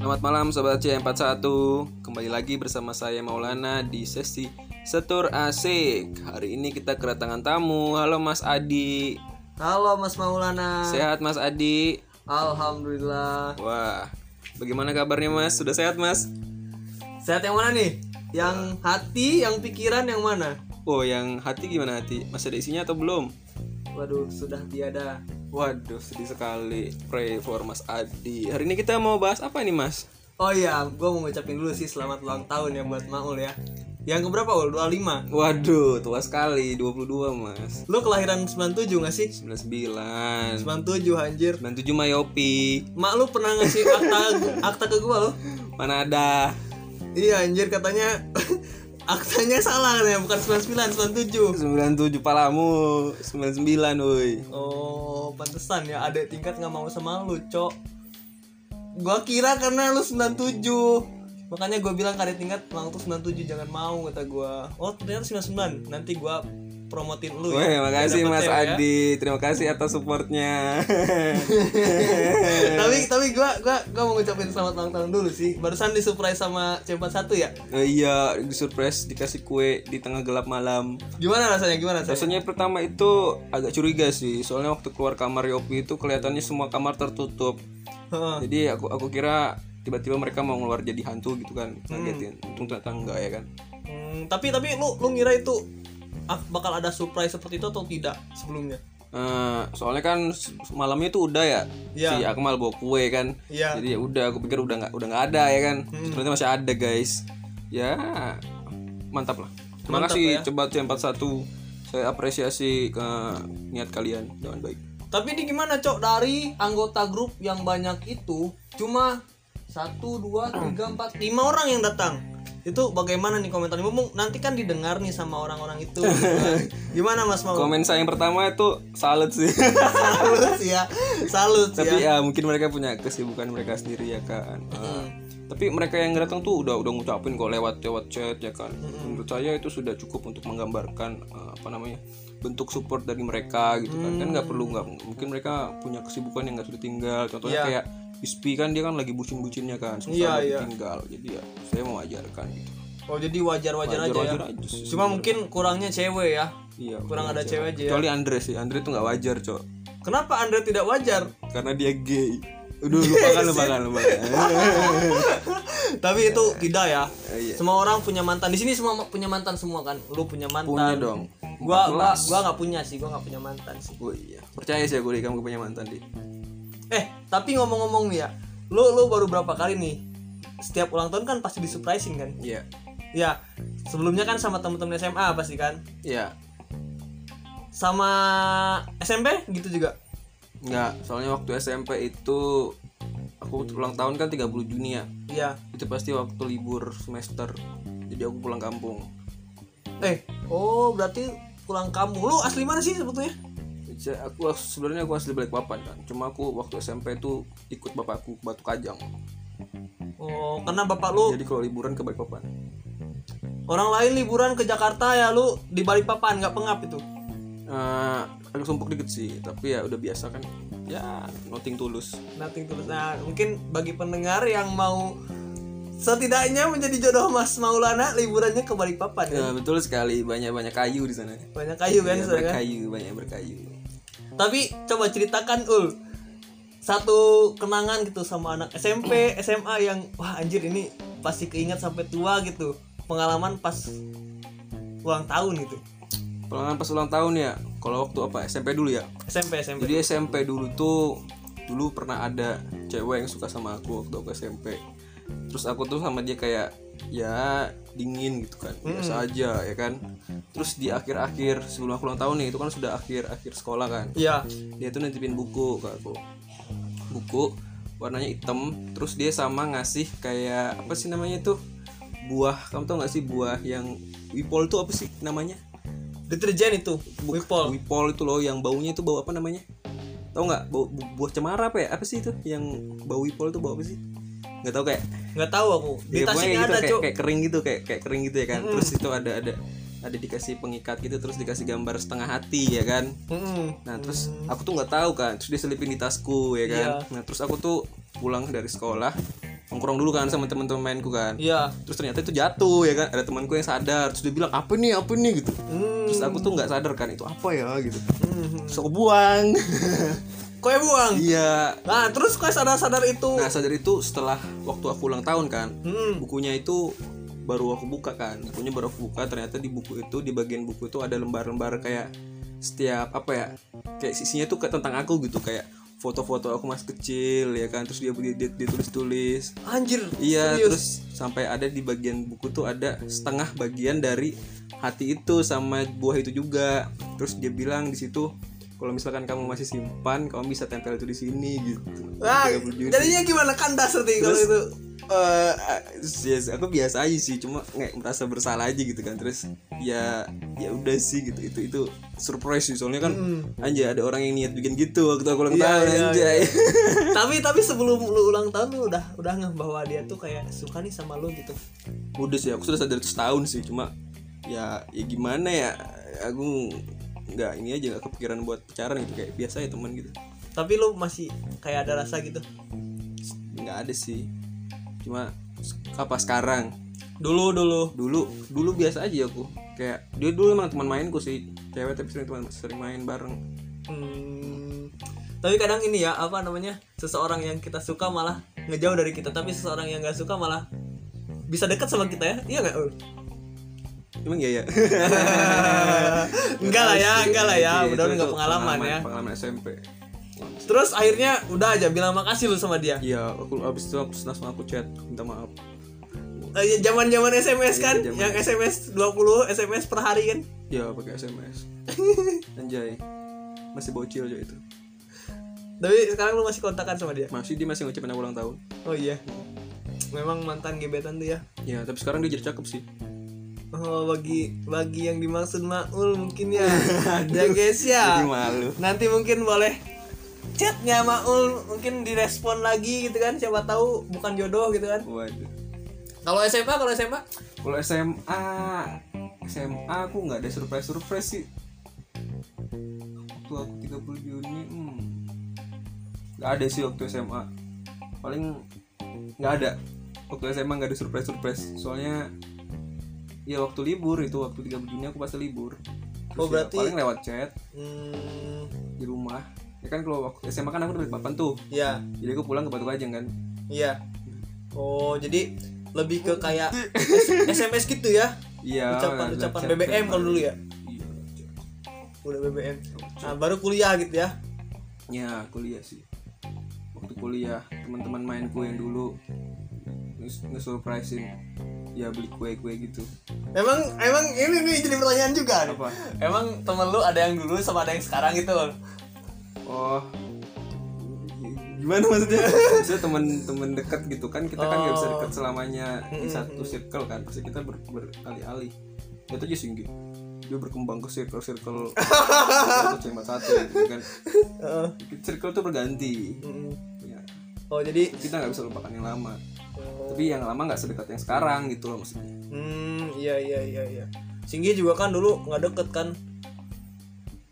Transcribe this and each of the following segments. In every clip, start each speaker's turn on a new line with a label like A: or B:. A: Selamat malam Sobat C41 Kembali lagi bersama saya Maulana di sesi Setur Asik Hari ini kita kedatangan tamu Halo Mas Adi
B: Halo Mas Maulana.
A: Sehat Mas Adi
B: Alhamdulillah.
A: Wah Bagaimana kabarnya Mas? Sudah sehat Mas?
B: Sehat yang mana nih? Yang hati, yang pikiran, yang mana?
A: Oh yang hati gimana hati? Masih ada isinya atau belum?
B: Waduh, sudah tiada.
A: Waduh sedih sekali Pray for Mas Adi Hari ini kita mau bahas apa nih Mas?
B: Oh iya, gue mau ngucapin dulu sih selamat ulang tahun ya buat Maul ya. Yang keberapa Ul? 25.
A: Waduh tua sekali 22 Mas
B: Lu kelahiran 97 gak sih?
A: 99
B: 97 anjir.
A: 97 Mayopi
B: Mak lu pernah ngasih akta akta ke gua lo?
A: Mana ada
B: Iya anjir katanya aktanya salah kan ya, bukan 99, 97.
A: 97 palamu 99 woi
B: Oh, pantesan ya adek tingkat nggak mau sama lu, Cok. Gua kira karena lu 97. Makanya gua bilang ke adek tingkat Lang tuh 97 jangan mau kata gua. Oh, ternyata 99. Nanti gua promotin lu
A: Woi,
B: ya.
A: makasih
B: Dapet
A: Mas
B: cewek ya.
A: Adi. Terima kasih atas supportnya.
B: tapi tapi gua gua gua mau ngucapin selamat ulang tahun dulu sih. Barusan disurprise sama C41 ya.
A: Oh iya, di surprise dikasih kue di tengah gelap malam.
B: Gimana rasanya? Gimana rasanya?
A: Rasanya pertama itu agak curiga sih, soalnya waktu keluar kamar Yopi itu kelihatannya semua kamar tertutup.
B: Heeh.
A: Jadi aku aku kira tiba-tiba mereka mau ngeluar jadi hantu gitu kan. Ngagetin. Untung ternyata enggak ya kan.
B: Hmm, tapi tapi lu lu ngira itu ah, bakal ada surprise seperti itu atau tidak sebelumnya?
A: Eh, soalnya kan se- malamnya itu udah ya
B: Iya.
A: si Akmal bawa kue kan
B: Iya.
A: jadi ya udah aku pikir udah nggak udah nggak ada ya kan ternyata masih ada guys ya mantap lah ya. terima kasih coba C41 saya apresiasi ke niat kalian dengan baik
B: Tapi ini gimana cok dari anggota grup yang banyak itu cuma satu dua tiga empat lima orang yang datang itu bagaimana nih komentar Mumpung nanti kan didengar nih sama orang-orang itu gimana Mas Mau
A: komen saya yang pertama itu salut sih
B: salut ya salut ya
A: tapi ya mungkin mereka punya kesibukan mereka sendiri ya kan Eh, tapi mereka yang datang tuh udah udah ngucapin kok lewat lewat chat ya kan menurut saya itu sudah cukup untuk menggambarkan eh, apa namanya bentuk support dari mereka gitu kan kan
B: Mm.
A: nggak perlu nggak mungkin mereka punya kesibukan yang nggak sudah tinggal contohnya kayak Ispi kan dia kan lagi bucin-bucinnya kan susah
B: Iya, iya.
A: tinggal jadi ya saya mewajarkan gitu
B: oh jadi wajar-wajar aja ya
A: wajar Hmm. aja sih
B: cuma mungkin kurangnya cewek ya
A: iya
B: kurang ada cewek aja ya
A: kecuali Andre sih Andre tuh nggak wajar cok
B: kenapa Andre tidak wajar
A: karena dia gay udah lupakan lupakan lupakan
B: tapi itu tidak ya
A: Iya.
B: semua orang punya mantan di sini semua punya mantan semua kan lu punya mantan
A: punya dong
B: gua gua gua nggak punya sih gua nggak punya mantan sih
A: Oh iya, percaya sih aku deh kamu punya mantan deh.
B: Eh, tapi ngomong-ngomong nih ya, lu lu baru berapa kali nih? Setiap ulang tahun kan pasti disurprisein kan?
A: Iya,
B: Ya, sebelumnya kan sama temen-temen SMA pasti kan?
A: iya,
B: Sama SMP gitu juga.
A: nggak. Soalnya waktu SMP itu aku ulang tahun kan 30 Juni ya.
B: Iya.
A: Itu pasti waktu libur semester. Jadi aku pulang kampung.
B: Eh, oh berarti pulang kamu. Lu asli mana sih sebetulnya?
A: Jadi Aku sebenarnya aku asli Balikpapan kan. Cuma aku waktu SMP itu ikut bapakku ke Batu Kajang.
B: Oh, karena bapak lu
A: Jadi kalau liburan ke Balikpapan.
B: orang lain liburan ke Jakarta ya lu di Balikpapan nggak pengap itu.
A: Eh, agak sumpuk dikit sih, tapi ya udah biasa kan. Ya, nothing tulus.
B: Nothing tulus. Nah, mungkin bagi pendengar yang mau setidaknya menjadi jodoh Mas Maulana liburannya ke Balikpapan kan?
A: Ya, betul sekali, banyak-banyak kayu di sana.
B: Banyak kayu kan,
A: Banyak
B: soalnya kan?
A: berkayu, banyak berkayu.
B: Tapi coba ceritakan Ul satu kenangan gitu sama anak SMP, SMA yang wah anjir ini pasti keinget sampai tua gitu. Pengalaman pas ulang tahun gitu.
A: Pelangan pas ulang tahun ya. Kalau waktu apa SMP dulu ya.
B: SMP, SMP.
A: Jadi SMP dulu tuh dulu pernah ada cewek yang suka sama aku waktu aku SMP. Terus aku tuh sama dia kayak ya dingin gitu kan. Biasa aja ya kan. Terus di akhir-akhir sebelum aku ulang tahun nih itu kan sudah akhir-akhir sekolah kan.
B: Iya.
A: Dia tuh nitipin buku ke aku. Buku warnanya hitam terus dia sama ngasih kayak apa sih namanya tuh buah kamu tau gak sih buah yang wipol tuh apa sih namanya
B: Deterjen itu, Wipol.
A: Wipol itu loh yang baunya itu bau apa namanya? Tahu nggak? Bau bu- buah cemara apa ya? Apa sih itu? Yang bau Wipol itu bau apa sih? Nggak tahu kayak
B: nggak tahu aku. Di
A: ya, pokoknya
B: tasnya
A: kayak gitu,
B: ada,
A: kayak,
B: Cuk.
A: kayak kering gitu, kayak kayak kering gitu ya kan. Terus itu ada ada ada dikasih pengikat gitu terus dikasih gambar setengah hati ya kan.
B: Mm-mm.
A: Nah, terus aku tuh nggak tahu kan. Terus diselipin di tasku ya kan.
B: Iya.
A: Nah, terus aku tuh pulang dari sekolah nongkrong dulu kan sama teman-teman mainku kan
B: Iya.
A: terus ternyata itu jatuh ya kan ada temanku yang sadar terus dia bilang apa nih apa nih gitu
B: Hmm.
A: terus aku tuh nggak sadar kan itu apa ya gitu
B: Hmm.
A: terus aku buang
B: Kue buang.
A: iya
B: Nah, terus kue sadar-sadar itu.
A: nah sadar itu setelah waktu aku ulang tahun kan
B: Hmm.
A: bukunya itu baru aku buka kan bukunya baru aku buka ternyata di buku itu di bagian buku itu ada lembar-lembar kayak setiap apa ya kayak sisinya tuh kayak tentang aku gitu kayak foto-foto aku masih kecil ya kan terus dia dia, dia, dia tulis-tulis
B: Anjir.
A: Iya,
B: serius.
A: terus sampai ada di bagian buku tuh ada setengah bagian dari hati itu sama buah itu juga. Terus dia bilang di situ kalau misalkan kamu masih simpan, kamu bisa tempel itu di sini gitu.
B: Nah,
A: Tiga puluh juni.
B: jadinya gimana kandas nanti kalau itu?
A: Eh, yes, aku biasa aja sih, cuma nggak merasa bersalah aja gitu kan. Terus ya ya udah sih gitu. Itu itu surprise sih soalnya kan anjay ada orang yang niat bikin gitu waktu aku ulang
B: Hmm. Iya,
A: tahun
B: iya,
A: anjay.
B: tapi tapi sebelum lu ulang tahun lu udah udah ngeh bahwa dia tuh kayak suka nih sama lu gitu.
A: udah sih aku sudah sadar itu setahun sih cuma ya ya gimana ya aku nggak ini aja nggak kepikiran buat pacaran gitu kayak biasa ya teman gitu
B: Tapi lu masih kayak ada rasa gitu.
A: nggak ada sih cuma apa sekarang
B: Dulu dulu.
A: dulu dulu biasa aja aku kayak dia dulu emang teman mainku sih cewek tapi sering teman sering main bareng
B: Hmm, tapi kadang ini ya apa namanya seseorang yang kita suka malah ngejauh dari kita tapi seseorang yang nggak suka malah bisa dekat sama kita ya iya nggak Ul?
A: emang iya ya
B: enggak lah ya enggak lah ya
A: Eh, Iya, itu-
B: udah
A: itu
B: nggak pengalaman ya
A: pengalaman SMP
B: terus akhirnya udah aja bilang makasih lu sama dia
A: iya aku abis itu aku langsung aku chat minta maaf
B: Eh, ya, zaman-zaman SMS kan
A: Iya, zaman
B: yang SMS 20 SMS per hari kan
A: ya pakai SMS anjay masih bocil aja itu
B: tapi sekarang lu masih kontakkan sama dia
A: masih dia masih ngucapin aku ulang tahun
B: oh iya memang mantan gebetan tuh ya
A: Ya, tapi sekarang dia jadi cakep sih.
B: Oh, bagi bagi yang dimaksud Maul mungkin ya. ya guys ya.
A: Jadi malu.
B: Nanti mungkin boleh chatnya Maul mungkin direspon lagi gitu kan siapa tahu bukan jodoh gitu kan.
A: Waduh.
B: Kalau SMA kalau SMA
A: Kalau SMA, SMA aku nggak ada surprise-surprise sih. Waktu aku 30 Juni, hmm. Nggak ada sih waktu SMA. Paling nggak ada. Waktu SMA nggak ada surprise-surprise. Soalnya ya waktu libur itu waktu 30 Juni aku pasti libur. Terus
B: Oh,
A: ya,
B: berarti-
A: paling lewat chat
B: hmm,
A: di rumah. Ya kan kalau waktu SMA kan aku dari papan tuh.
B: ya,
A: Jadi aku pulang ke Batu Kajang kan.
B: iya. Oh, jadi lebih ke kayak SMS gitu ya.
A: Iya.
B: Ucapan-ucapan
A: lewat chat.
B: BBM kalau dulu ya.
A: Iya, lewat chat.
B: Udah BBM. Nah, baru kuliah gitu ya.
A: Ya kuliah sih Waktu kuliah teman-teman mainku yang dulu nge- Nge-surprisein Ya beli kue-kue gitu
B: Emang emang ini nih jadi pertanyaan juga nih.
A: Apa?
B: Emang temen lu ada yang dulu sama ada yang sekarang gitu loh.
A: Oh Gimana maksudnya? Maksudnya teman-teman dekat gitu kan Kita kan nggak bisa dekat selamanya Di satu circle kan Pasti kita ber- berkali-alih Itu aja sih Nggi. Dia berkembang ke circle-circle Satu cuma satu gitu kan Circle tuh berganti ya.
B: Oh jadi
A: Kita nggak bisa lupakan yang lama Tapi yang lama nggak sedekat yang sekarang gitu loh maksudnya
B: Hmm iya iya iya iya Singgi juga kan dulu nggak deket kan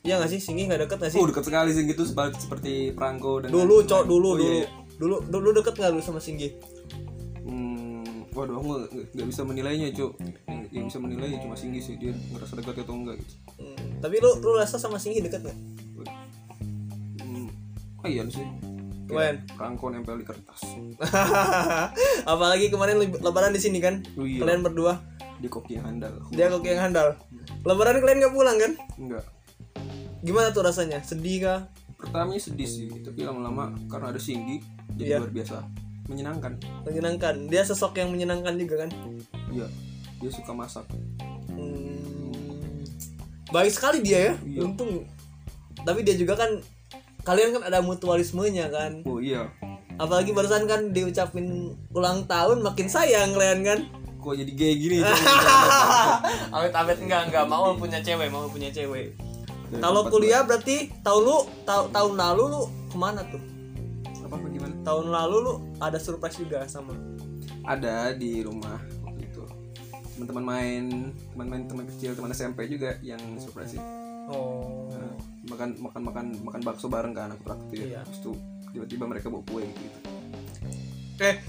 B: Iya nggak sih Singgi nggak deket nggak sih
A: Oh dekat sekali sih gitu seperti, seperti perangko dan
B: Dulu cowok dulu
A: Oh,
B: dulu
A: iya, iya.
B: Dulu dulu deket nggak lu sama Singgi
A: Hmm, waduh aku nggak- nggak bisa menilainya cuk yang, yang bisa menilai ya cuma Singgi sih dia ngerasa dekat atau enggak gitu
B: Hmm, Tapi lu lu rasa sama Singgi deket nggak
A: hmm, oh iya sih
B: Kemarin
A: perangko nempel di kertas
B: Apalagi kemarin lib- lebaran di sini kan
A: oh, iya
B: Kalian berdua
A: di koki yang handal
B: Dia kok yang handal Lebaran kalian nggak pulang kan
A: enggak
B: Gimana tuh rasanya sedih kah
A: pertamanya sedih sih tapi lama-lama karena ada Singgi jadi
B: Iya.
A: luar biasa menyenangkan
B: Menyenangkan Dia sosok yang menyenangkan juga kan
A: iya dia suka masak
B: Hmm. Baik sekali dia ya.
A: Iya.
B: Untung. Tapi dia juga kan kalian kan ada mutualismenya kan.
A: oh iya
B: Apalagi barusan kan diucapin ulang tahun makin sayang kalian kan.
A: kok jadi gay gini ya?
B: awet awet enggak enggak mau punya cewek mau punya cewek.
A: Dari
B: Kalau
A: tempat
B: kuliah berarti tahun lu ta- tahun lalu lu kemana tuh?
A: gua- apa apa gimana
B: Tahun lalu lu ada surprise juga sama.
A: ada di rumah waktu itu teman-teman main teman main teman kecil teman SMP juga yang surprise sih.
B: Oh.
A: Nah, makan makan makan makan bakso bareng kan aku traktir
B: Iya.
A: terus tuh tiba-tiba mereka bawa kue gitu
B: Eh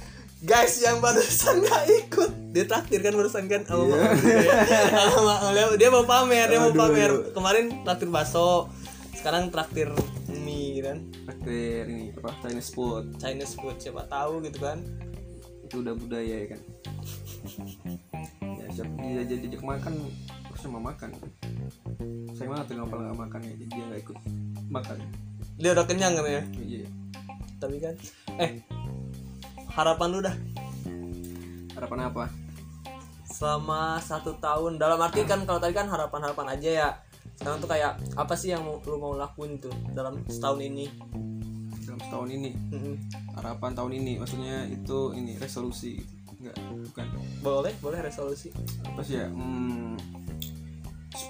B: Guys yang barusan gak ikut Dia traktir kan barusan kan sama
A: Iya.
B: Mak Olia ya. Sama Mak Olia. Dia mau pamer Dia mau
A: Aduh.
B: pamer Kemarin traktir bakso Sekarang traktir mie gitu kan
A: traktir ini apa Chinese food
B: Chinese food siapa tahu gitu kan
A: itu udah budaya ya kan ya siap dia jadi diajak makan harusnya mau makan kan saya mana tuh kenapa nggak makan ya jadi dia nggak ikut makan
B: Dia udah kenyang kan ya
A: iya
B: Tapi kan Eh Harapan lu dah
A: harapan apa
B: selama satu tahun dalam arti kan kalau tadi kan harapan-harapan aja ya sekarang tuh kayak apa sih yang mau, lu mau lakuin tuh dalam setahun ini
A: dalam setahun ini
B: Mm-mm.
A: harapan tahun ini maksudnya itu ini resolusi nggak bukan
B: boleh boleh resolusi
A: apa sih ya hmm,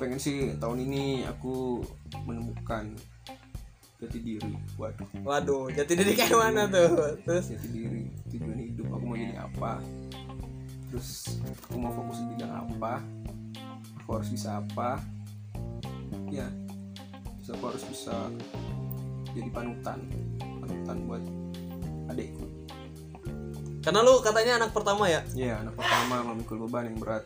A: pengen sih tahun ini aku menemukan jati diri waduh
B: waduh jadi diri kayak mana tuh terus
A: jati diri tujuan hidup aku mau jadi apa terus aku mau fokus di bidang apa aku harus bisa apa ya terus aku harus bisa jadi panutan panutan buat adikku
B: karena lu katanya anak pertama ya
A: ya anak pertama memikul beban yang berat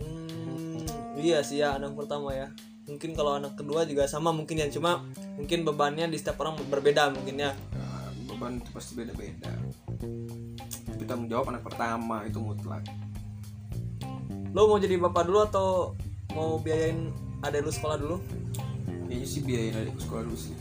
B: Hmm, iya sih ya anak pertama ya mungkin kalau anak kedua juga sama mungkin ya cuma mungkin bebannya di setiap orang berbeda mungkin ya
A: Nah, beban itu pasti beda-beda tapi tanggung jawab anak pertama itu mutlak
B: lu mau jadi bapak dulu atau mau biayain adek lu sekolah dulu
A: kayaknya sih biayain adikku sekolah dulu sih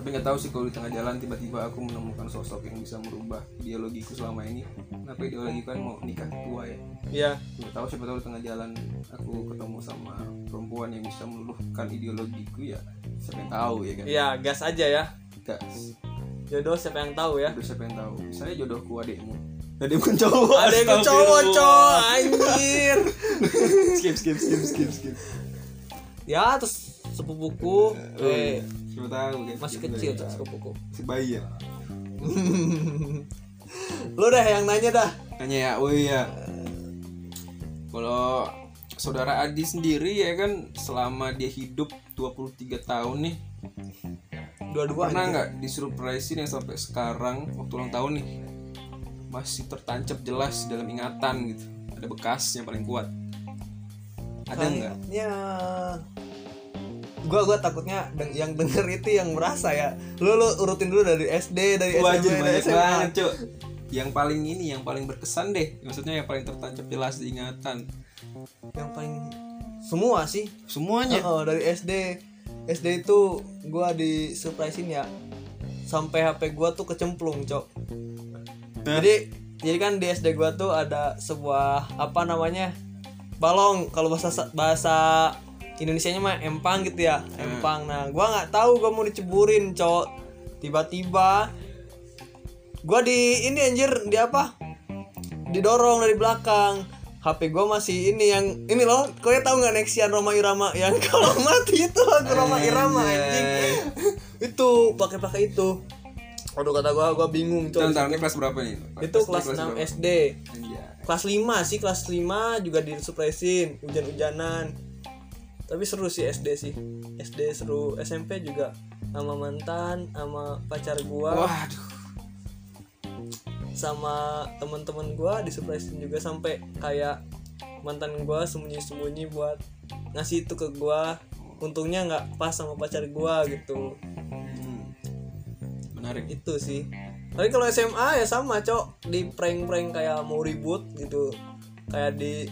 A: tapi nggak tahu sih kalau di tengah jalan tiba-tiba aku menemukan sosok yang bisa merubah ideologiku selama ini kenapa ideologiku kan mau nikah tua ya
B: iya
A: nggak tahu siapa tahu di tengah jalan aku ketemu sama perempuan yang bisa meluluhkan ideologiku ya siapa yang tahu ya kan
B: iya gas aja ya
A: gas
B: jodoh siapa yang tahu ya
A: aduh siapa yang tahu misalnya jodohku adikmu adikmu kan cowok
B: ada yang
A: Astagfirullah.
B: cowok cowok anjir
A: skip skip skip skip skip
B: ya terus sepupuku eh
A: siapa tahu kan
B: masih
A: Siapa
B: kecil
A: tahu.
B: tuh sepupuku
A: si bayi ya
B: lu dah yang nanya dah
A: Tanya ya, oh iya. Kalau saudara Adi sendiri ya kan selama dia hidup 23 tahun nih
B: dua-dua
A: pernah nggak disurprisein yang sampai sekarang waktu ulang tahun nih masih tertancap jelas dalam ingatan gitu ada bekasnya paling kuat ada nggak
B: ya gua gua takutnya deng- yang denger itu yang merasa ya lu lu urutin dulu dari SD dari SMP
A: wajib
B: dari
A: banyak
B: SMA
A: banget Cuk. yang paling ini yang paling berkesan deh maksudnya yang paling tertancap jelas di ingatan
B: yang paling semua sih
A: semuanya
B: Oh, dari SD. SD itu gua di surprisein ya. Sampai HP gua tuh kecemplung, Cok. Jadi jadi kan di SD gua tuh ada sebuah apa namanya? Balong kalau bahasa bahasa Indonesianya mah empang gitu ya, empang. Nah, gua nggak tahu gua mau diceburin, Cok. Tiba-tiba gua di ini anjir di apa? didorong dari belakang HP gue masih ini yang ini loh kalian tahu nggak Nexian Roma Irama yang kalau mati itu lagu Roma Irama anjing itu pakai pakai itu aduh kata gue gue bingung
A: Bentar,
B: coy
A: bentar, ini kelas berapa nih
B: itu kelas 6
A: berapa? Iya.
B: SD
A: Anjay.
B: kelas 5 sih kelas 5 juga disurprisein hujan-hujanan tapi seru sih SD sih SD seru SMP juga sama mantan sama pacar gua
A: Waduh.
B: sama teman-teman gua disurprisein juga sampai kayak mantan gua sembunyi-sembunyi buat ngasih itu ke gua untungnya nggak pas sama pacar gua gitu
A: Menarik.
B: itu sih tapi kalau SMA ya sama cok di prank-prank kayak mau ribut gitu kayak di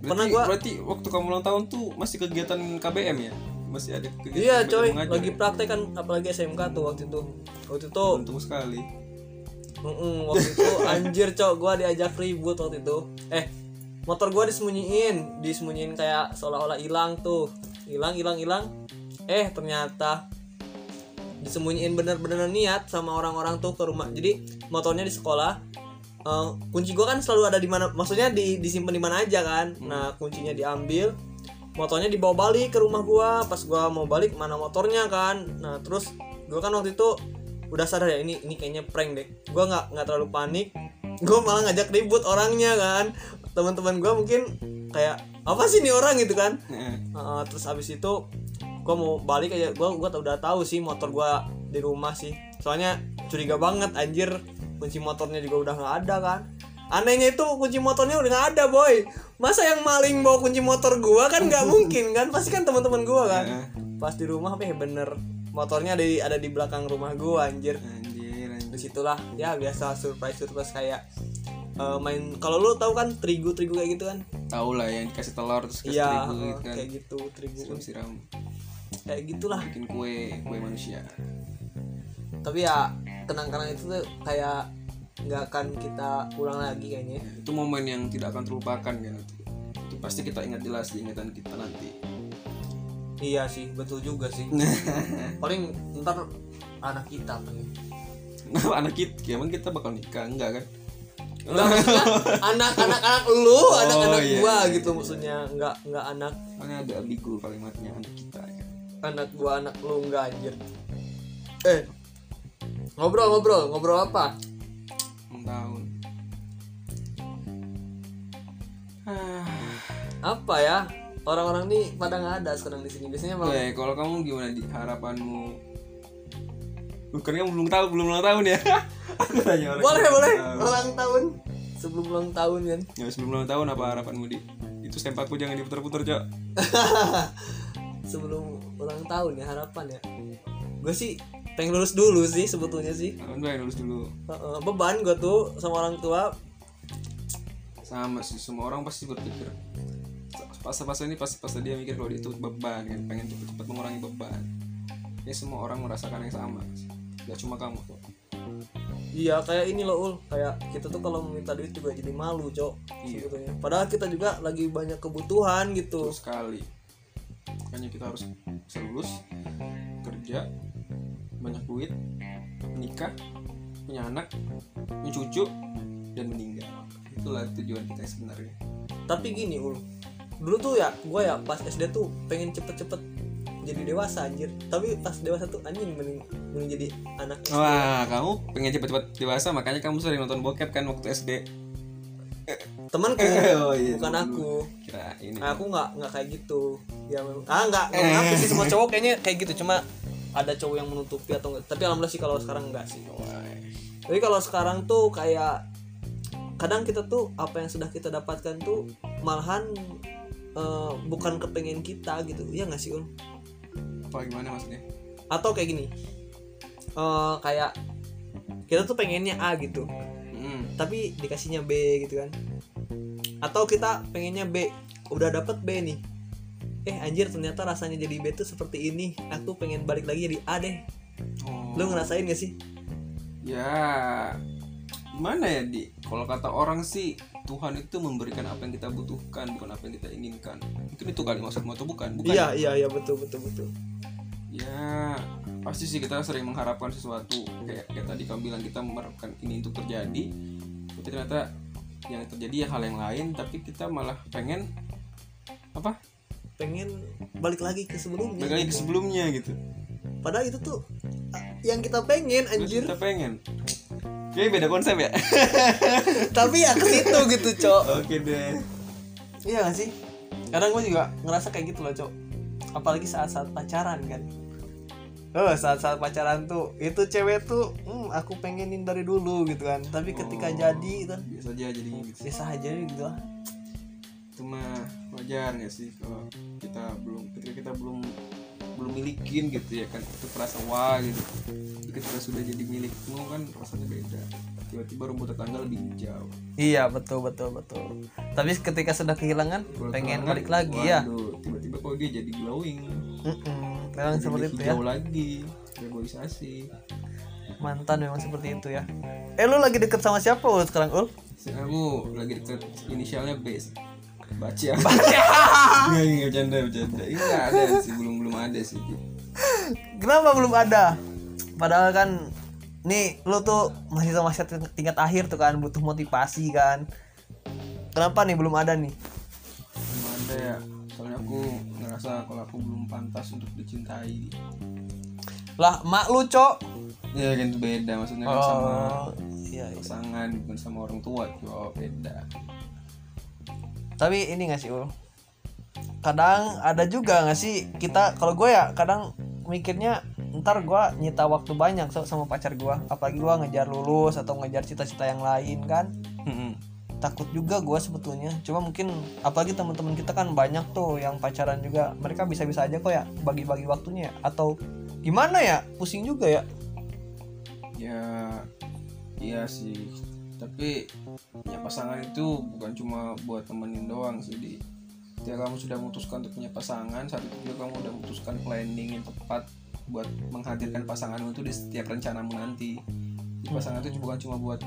A: Berarti,
B: pernah gua
A: berarti waktu kamu ulang tahun tuh masih kegiatan KBM ya? Masih ada kegiatan
B: iya
A: belajar
B: coy
A: mengajar
B: lagi
A: ya?
B: praktek kan apalagi SMK tuh waktu itu waktu itu
A: Untung sekali.
B: Mm-mm, waktu itu anjir cok gua diajak ribut waktu itu eh motor gua disembunyiin disembunyiin kayak seolah-olah hilang tuh hilang hilang hilang eh ternyata disembunyiin bener-bener niat sama orang-orang tuh ke rumah jadi motornya di sekolah Eh, kunci gua kan selalu ada di mana maksudnya di disimpan di mana aja kan nah kuncinya diambil motornya dibawa balik ke rumah gua pas gua mau balik mana motornya kan nah terus gua kan waktu itu udah sadar ya ini ini kayaknya prank deh gua nggak nggak terlalu panik gua malah ngajak ribut orangnya kan teman-teman gua mungkin kayak apa sih nih orang gitu kan
A: Nah,
B: Uh, terus abis itu gue mau balik aja gue gua udah tahu sih motor gue di rumah sih soalnya curiga banget anjir kunci motornya juga udah nggak ada kan anehnya itu kunci motornya udah nggak ada boy masa yang maling bawa kunci motor gua kan nggak mungkin kan pasti kan teman-teman gua kan
A: Iya.
B: pas di rumah apa ya bener motornya ada di, ada di belakang rumah gua anjir
A: anjir anjir
B: disitulah ya biasa surprise surprise kayak eh, main kalau lu tahu kan terigu terigu kayak gitu kan
A: tahu lah ya, yang dikasih telur terus kasih
B: iya
A: terigu gitu
B: eh,
A: kan
B: kayak gitu terigu
A: siram siram
B: kayak gitulah
A: bikin kue kue manusia Hmm.
B: tapi ya kenang-kenang itu tuh kayak nggak akan kita ulang lagi kayaknya
A: itu momen yang tidak akan terlupakan kan itu, itu pasti kita ingat jelas di ingatan kita nanti
B: iya sih betul juga sih
A: Nah.
B: paling ntar anak kita paling
A: Nah, anak kita emang kita bakal nikah enggak kan
B: anak anak anak lu anak anak
A: iya,
B: gua gitu maksudnya nggak nggak anak
A: Makanya ada abigu kalimatnya anak kita ya.
B: anak gua anak lu nggak anjir eh ngobrol ngobrol ngobrol apa
A: Ulang tahun ah.
B: apa ya orang-orang nih pada nggak ada sekarang di sini biasanya malah
A: Weh, kalau kamu gimana di harapanmu bukan kamu belum tahu belum ulang tahun ya aku tanya orang
B: boleh boleh
A: Nah.
B: ulang tahun sebelum ulang tahun kan
A: ya sebelum ulang tahun apa harapanmu di itu sempakku jangan diputar-putar cok
B: sebelum ulang tahun ya harapan ya gue sih pengen lulus dulu sih sebetulnya sih
A: Apaan gue lulus dulu
B: Heeh, beban gue tuh sama orang tua
A: sama sih semua orang pasti berpikir pas-pas ini pas-pas dia mikir kalau dia itu beban kan pengen cepat-cepat mengurangi beban ya semua orang merasakan yang sama nggak cuma kamu kok
B: iya kayak ini loh ul kayak kita tuh kalau minta duit juga jadi malu cok
A: Iya.
B: sebetulnya padahal kita juga lagi banyak kebutuhan gitu
A: Betul sekali makanya kita harus bisa lulus kerja banyak duit menikah punya anak punya cucu dan meninggal itulah tujuan kita sebenarnya
B: tapi gini ul dulu tuh ya gue ya pas SD tuh pengen cepet-cepet jadi dewasa anjir tapi pas dewasa tuh anjing mending, mending jadi anak
A: wah kamu pengen cepat-cepat dewasa makanya kamu sering nonton bokep kan waktu SD
B: temanku
A: Oh, iya,
B: bukan
A: dulu.
B: aku
A: kira ini
B: Nah, aku nggak nggak kayak gitu ya memang ah nggak nggak mengaku sih semua cowok kayaknya kayak gitu cuma ada cowok yang menutupi atau enggak tapi alhamdulillah sih kalau sekarang enggak sih
A: Wah.
B: tapi kalau sekarang tuh kayak kadang kita tuh apa yang sudah kita dapatkan tuh malahan eh, bukan kepengen kita gitu ya nggak sih Ul?
A: apa gimana maksudnya
B: atau kayak gini eh, kayak kita tuh pengennya A gitu
A: hmm.
B: tapi dikasihnya B gitu kan atau kita pengennya B udah dapet B nih eh anjir ternyata rasanya jadi B tuh seperti ini aku pengen balik lagi jadi A deh
A: oh.
B: lu ngerasain gak sih
A: Ya, gimana ya di? Kalau kata orang sih Tuhan itu memberikan apa yang kita butuhkan, bukan apa yang kita inginkan. Mungkin itu kali maksudmu atau bukan? Bukan.
B: iya iya iya betul betul betul
A: Ya, pasti sih kita sering mengharapkan sesuatu. Kayak, kayak tadi kamu bilang kita mengharapkan ini untuk terjadi, tapi ternyata yang terjadi ya hal yang lain. Tapi kita malah pengen apa?
B: pengen balik lagi ke sebelumnya
A: Balik lagi ke sebelumnya gitu.
B: padahal itu tuh ah, yang kita pengen
A: Terus
B: anjir
A: kita pengen. Oke, beda konsep ya.
B: tapi ya ke situ gitu cok
A: Oke deh.
B: iya gak sih kadang gue juga ngerasa kayak gitu loh cok apalagi saat-saat pacaran kan Oh, saat-saat pacaran tuh itu cewek tuh hmm, aku pengenin dari dulu gitu kan tapi ketika
A: Oh.
B: jadi itu
A: Biasa aja jadinya gitu.
B: biasa aja gitu lah
A: itu mah wajar nggak sih kalau kita belum ketika kita belum belum milikin gitu ya kan itu perasa wah gitu Tapi ketika sudah jadi milikmu kan rasanya beda tiba-tiba rumput tetangga lebih hijau
B: iya betul betul betul tapi ketika sudah kehilangan
A: Kalau
B: pengen
A: tetangga,
B: balik lagi ya
A: waduh, tiba-tiba kok dia jadi glowing
B: Mm-mm, memang
A: jadi
B: seperti itu ya
A: hijau lagi reboisasi
B: mantan memang seperti itu ya eh lu lagi deket sama siapa lu sekarang ul
A: kamu lagi deket inisialnya B baca nggak nggak bercanda bercanda ini nggak ada sih belum belum ada sih
B: Kenapa belum ada? Padahal kan nih lu tuh masih sama tingkat akhir tuh kan butuh motivasi kan. Kenapa nih belum ada nih?
A: belum ada ya soalnya aku ngerasa kalau aku belum pantas untuk dicintai
B: Lah mak lu cok.
A: ya kan itu beda maksudnya kan sama
B: Oh, iya, iya.
A: pasangan bukan sama orang tua cowok beda
B: Tapi ini gak sih Ul? Kadang ada juga gak sih kita kalau gue ya kadang mikirnya ntar gua nyita waktu banyak so- sama pacar gua apalagi gua ngejar lulus atau ngejar cita-cita yang lain kan
A: Mm-mm.
B: takut juga gua sebetulnya cuma mungkin apalagi teman-teman kita kan banyak tuh yang pacaran juga mereka bisa-bisa aja kok ya bagi-bagi waktunya ya. atau gimana ya pusing juga ya
A: ya iya sih tapi ya pasangan itu bukan cuma buat temenin doang sih di ketika kamu sudah memutuskan untuk punya pasangan saat itu juga kamu udah memutuskan planning yang tepat buat menghadirkan pasanganmu itu di setiap rencanamu nanti Jadi pasangan itu bukan cuma buat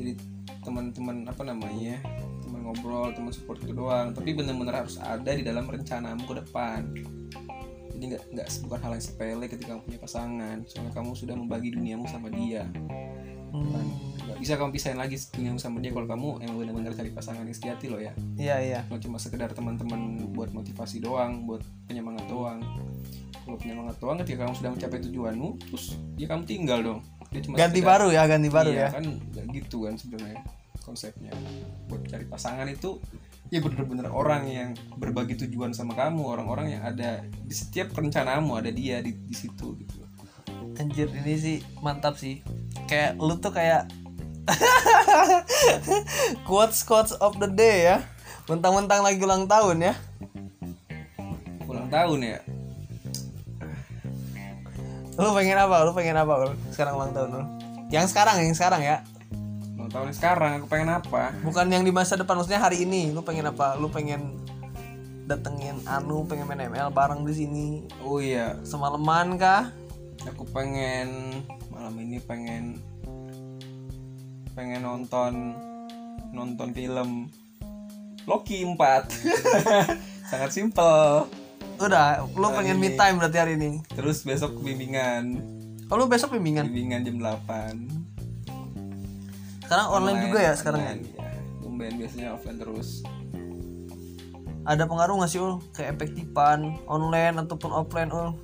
A: jadi teman-teman apa namanya teman ngobrol teman support itu doang tapi benar-benar harus ada di dalam rencanamu ke depan jadi nggak nggak bukan hal yang sepele ketika kamu punya pasangan soalnya kamu sudah membagi duniamu sama dia kan
B: Hmm,
A: nggak bisa kamu pisahin lagi duniamu sama dia kalau kamu emang benar-benar cari pasangan yang sejati loh ya
B: iya iya
A: kalau cuma sekedar teman-teman buat motivasi doang buat penyemangat doang kalau penyemangat doang ketika kamu sudah mencapai tujuanmu terus ya kamu tinggal dong dia cuma
B: ganti
A: sekedar-
B: baru ya ganti baru
A: iya,
B: ya
A: kan nggak gitu kan sebenarnya konsepnya buat cari pasangan itu ya bener-bener orang yang berbagi tujuan sama kamu orang-orang yang ada di setiap rencanamu ada dia di, di situ gitu
B: anjir ini sih mantap sih kayak lu tuh kayak quotes quotes of the day ya mentang-mentang lagi ulang tahun ya
A: ulang tahun ya
B: lu pengen apa lu pengen apa lu sekarang ulang tahun lu yang sekarang yang sekarang ya
A: ulang tahun sekarang aku pengen apa
B: bukan yang di masa depan maksudnya hari ini lu pengen apa lu pengen datengin Anu pengen main ML bareng di sini
A: oh iya
B: semalaman kah
A: aku pengen malam ini pengen pengen nonton nonton film Loki 4 sangat simpel
B: udah lu pengen me time berarti hari ini
A: terus besok bimbingan
B: oh lu besok bimbingan
A: bimbingan jam 8
B: sekarang online juga ya sekarang ya
A: online, ya Tumben biasanya offline terus
B: ada pengaruh nggak sih ul ke efektifan online ataupun offline ul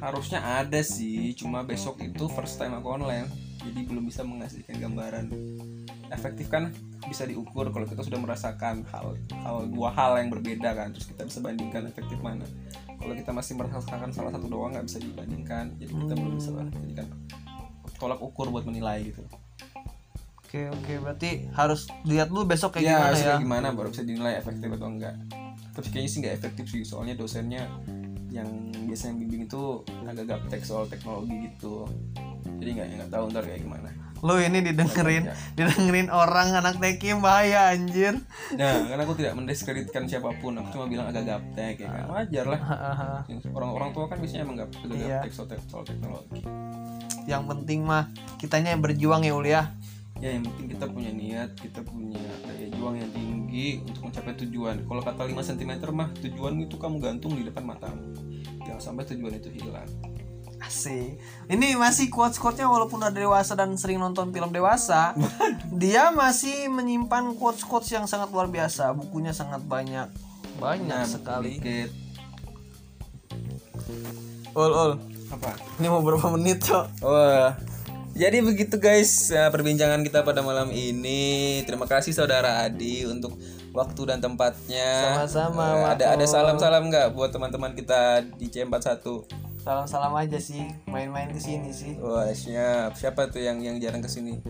A: harusnya ada sih cuma besok itu first time aku online jadi belum bisa menghasilkan gambaran efektif kan bisa diukur kalau kita sudah merasakan hal hal dua hal yang berbeda kan terus kita bisa bandingkan efektif mana kalau kita masih merasakan salah satu doang nggak bisa dibandingkan jadi kita belum bisa jadikan tolak ukur buat menilai gitu
B: oke oke berarti harus lihat lu besok kayak
A: ya,
B: gimana
A: harus
B: ya
A: kayak gimana baru bisa dinilai efektif atau enggak tapi kayaknya sih nggak efektif sih soalnya dosennya yang biasanya bimbing itu agak gaptek soal teknologi gitu jadi nggak nggak tahu ntar kayak gimana
B: lu ini
A: Ya.
B: didengerin didengerin orang anak tekim bahaya anjir
A: nah karena aku tidak mendiskreditkan siapapun aku cuma bilang agak gaptek ya kan wajar lah
B: Hahaha.
A: orang-orang tua kan biasanya emang gap- agak
B: Iya.
A: gaptek soal, tek- soal teknologi
B: yang penting mah kitanya yang berjuang ya ul ya
A: ya yang penting kita punya niat kita punya daya juang yang tinggi untuk mencapai tujuan kalau kata 5 cm mah tujuan itu kamu gantung di depan matamu jangan sampai tujuan itu hilang
B: Asik. Ini masih quotes-quotesnya walaupun udah dewasa dan sering nonton film dewasa, dia masih menyimpan quotes-quotes yang sangat luar biasa. Bukunya sangat banyak. Banyak Nah, sekali.
A: Dikit.
B: Ul, ul.
A: apa
B: Ini mau berapa menit, Cok?
A: Wah. Jadi begitu guys eh, perbincangan kita pada malam ini. Terima kasih saudara Adi untuk waktu dan tempatnya.
B: Sama-sama,
A: Eh, ada ada salam-salam nggak buat teman-teman kita di C41?
B: Salam-salam aja sih, main-main ke sini sih.
A: Wah, siap. Siapa tuh yang yang jarang kesini?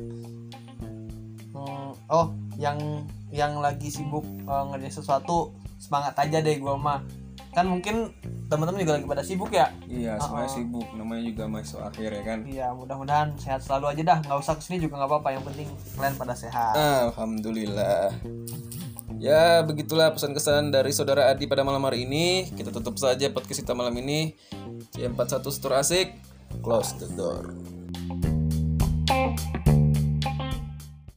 B: Hmm, oh, yang yang lagi sibuk eh, ngerjain sesuatu, semangat aja deh gua mah. Kan mungkin teman-teman juga lagi pada sibuk ya.
A: Iya, semuanya sibuk. Namanya juga masuk akhir ya kan.
B: Iya, mudah-mudahan sehat selalu aja dah. Nggak usah kesini juga nggak apa-apa. Yang penting kalian pada sehat.
A: Alhamdulillah. Ya, begitulah pesan kesan dari saudara Adi pada malam hari ini. Kita tutup saja podcast kita malam ini. C41 Store Asik, close the door.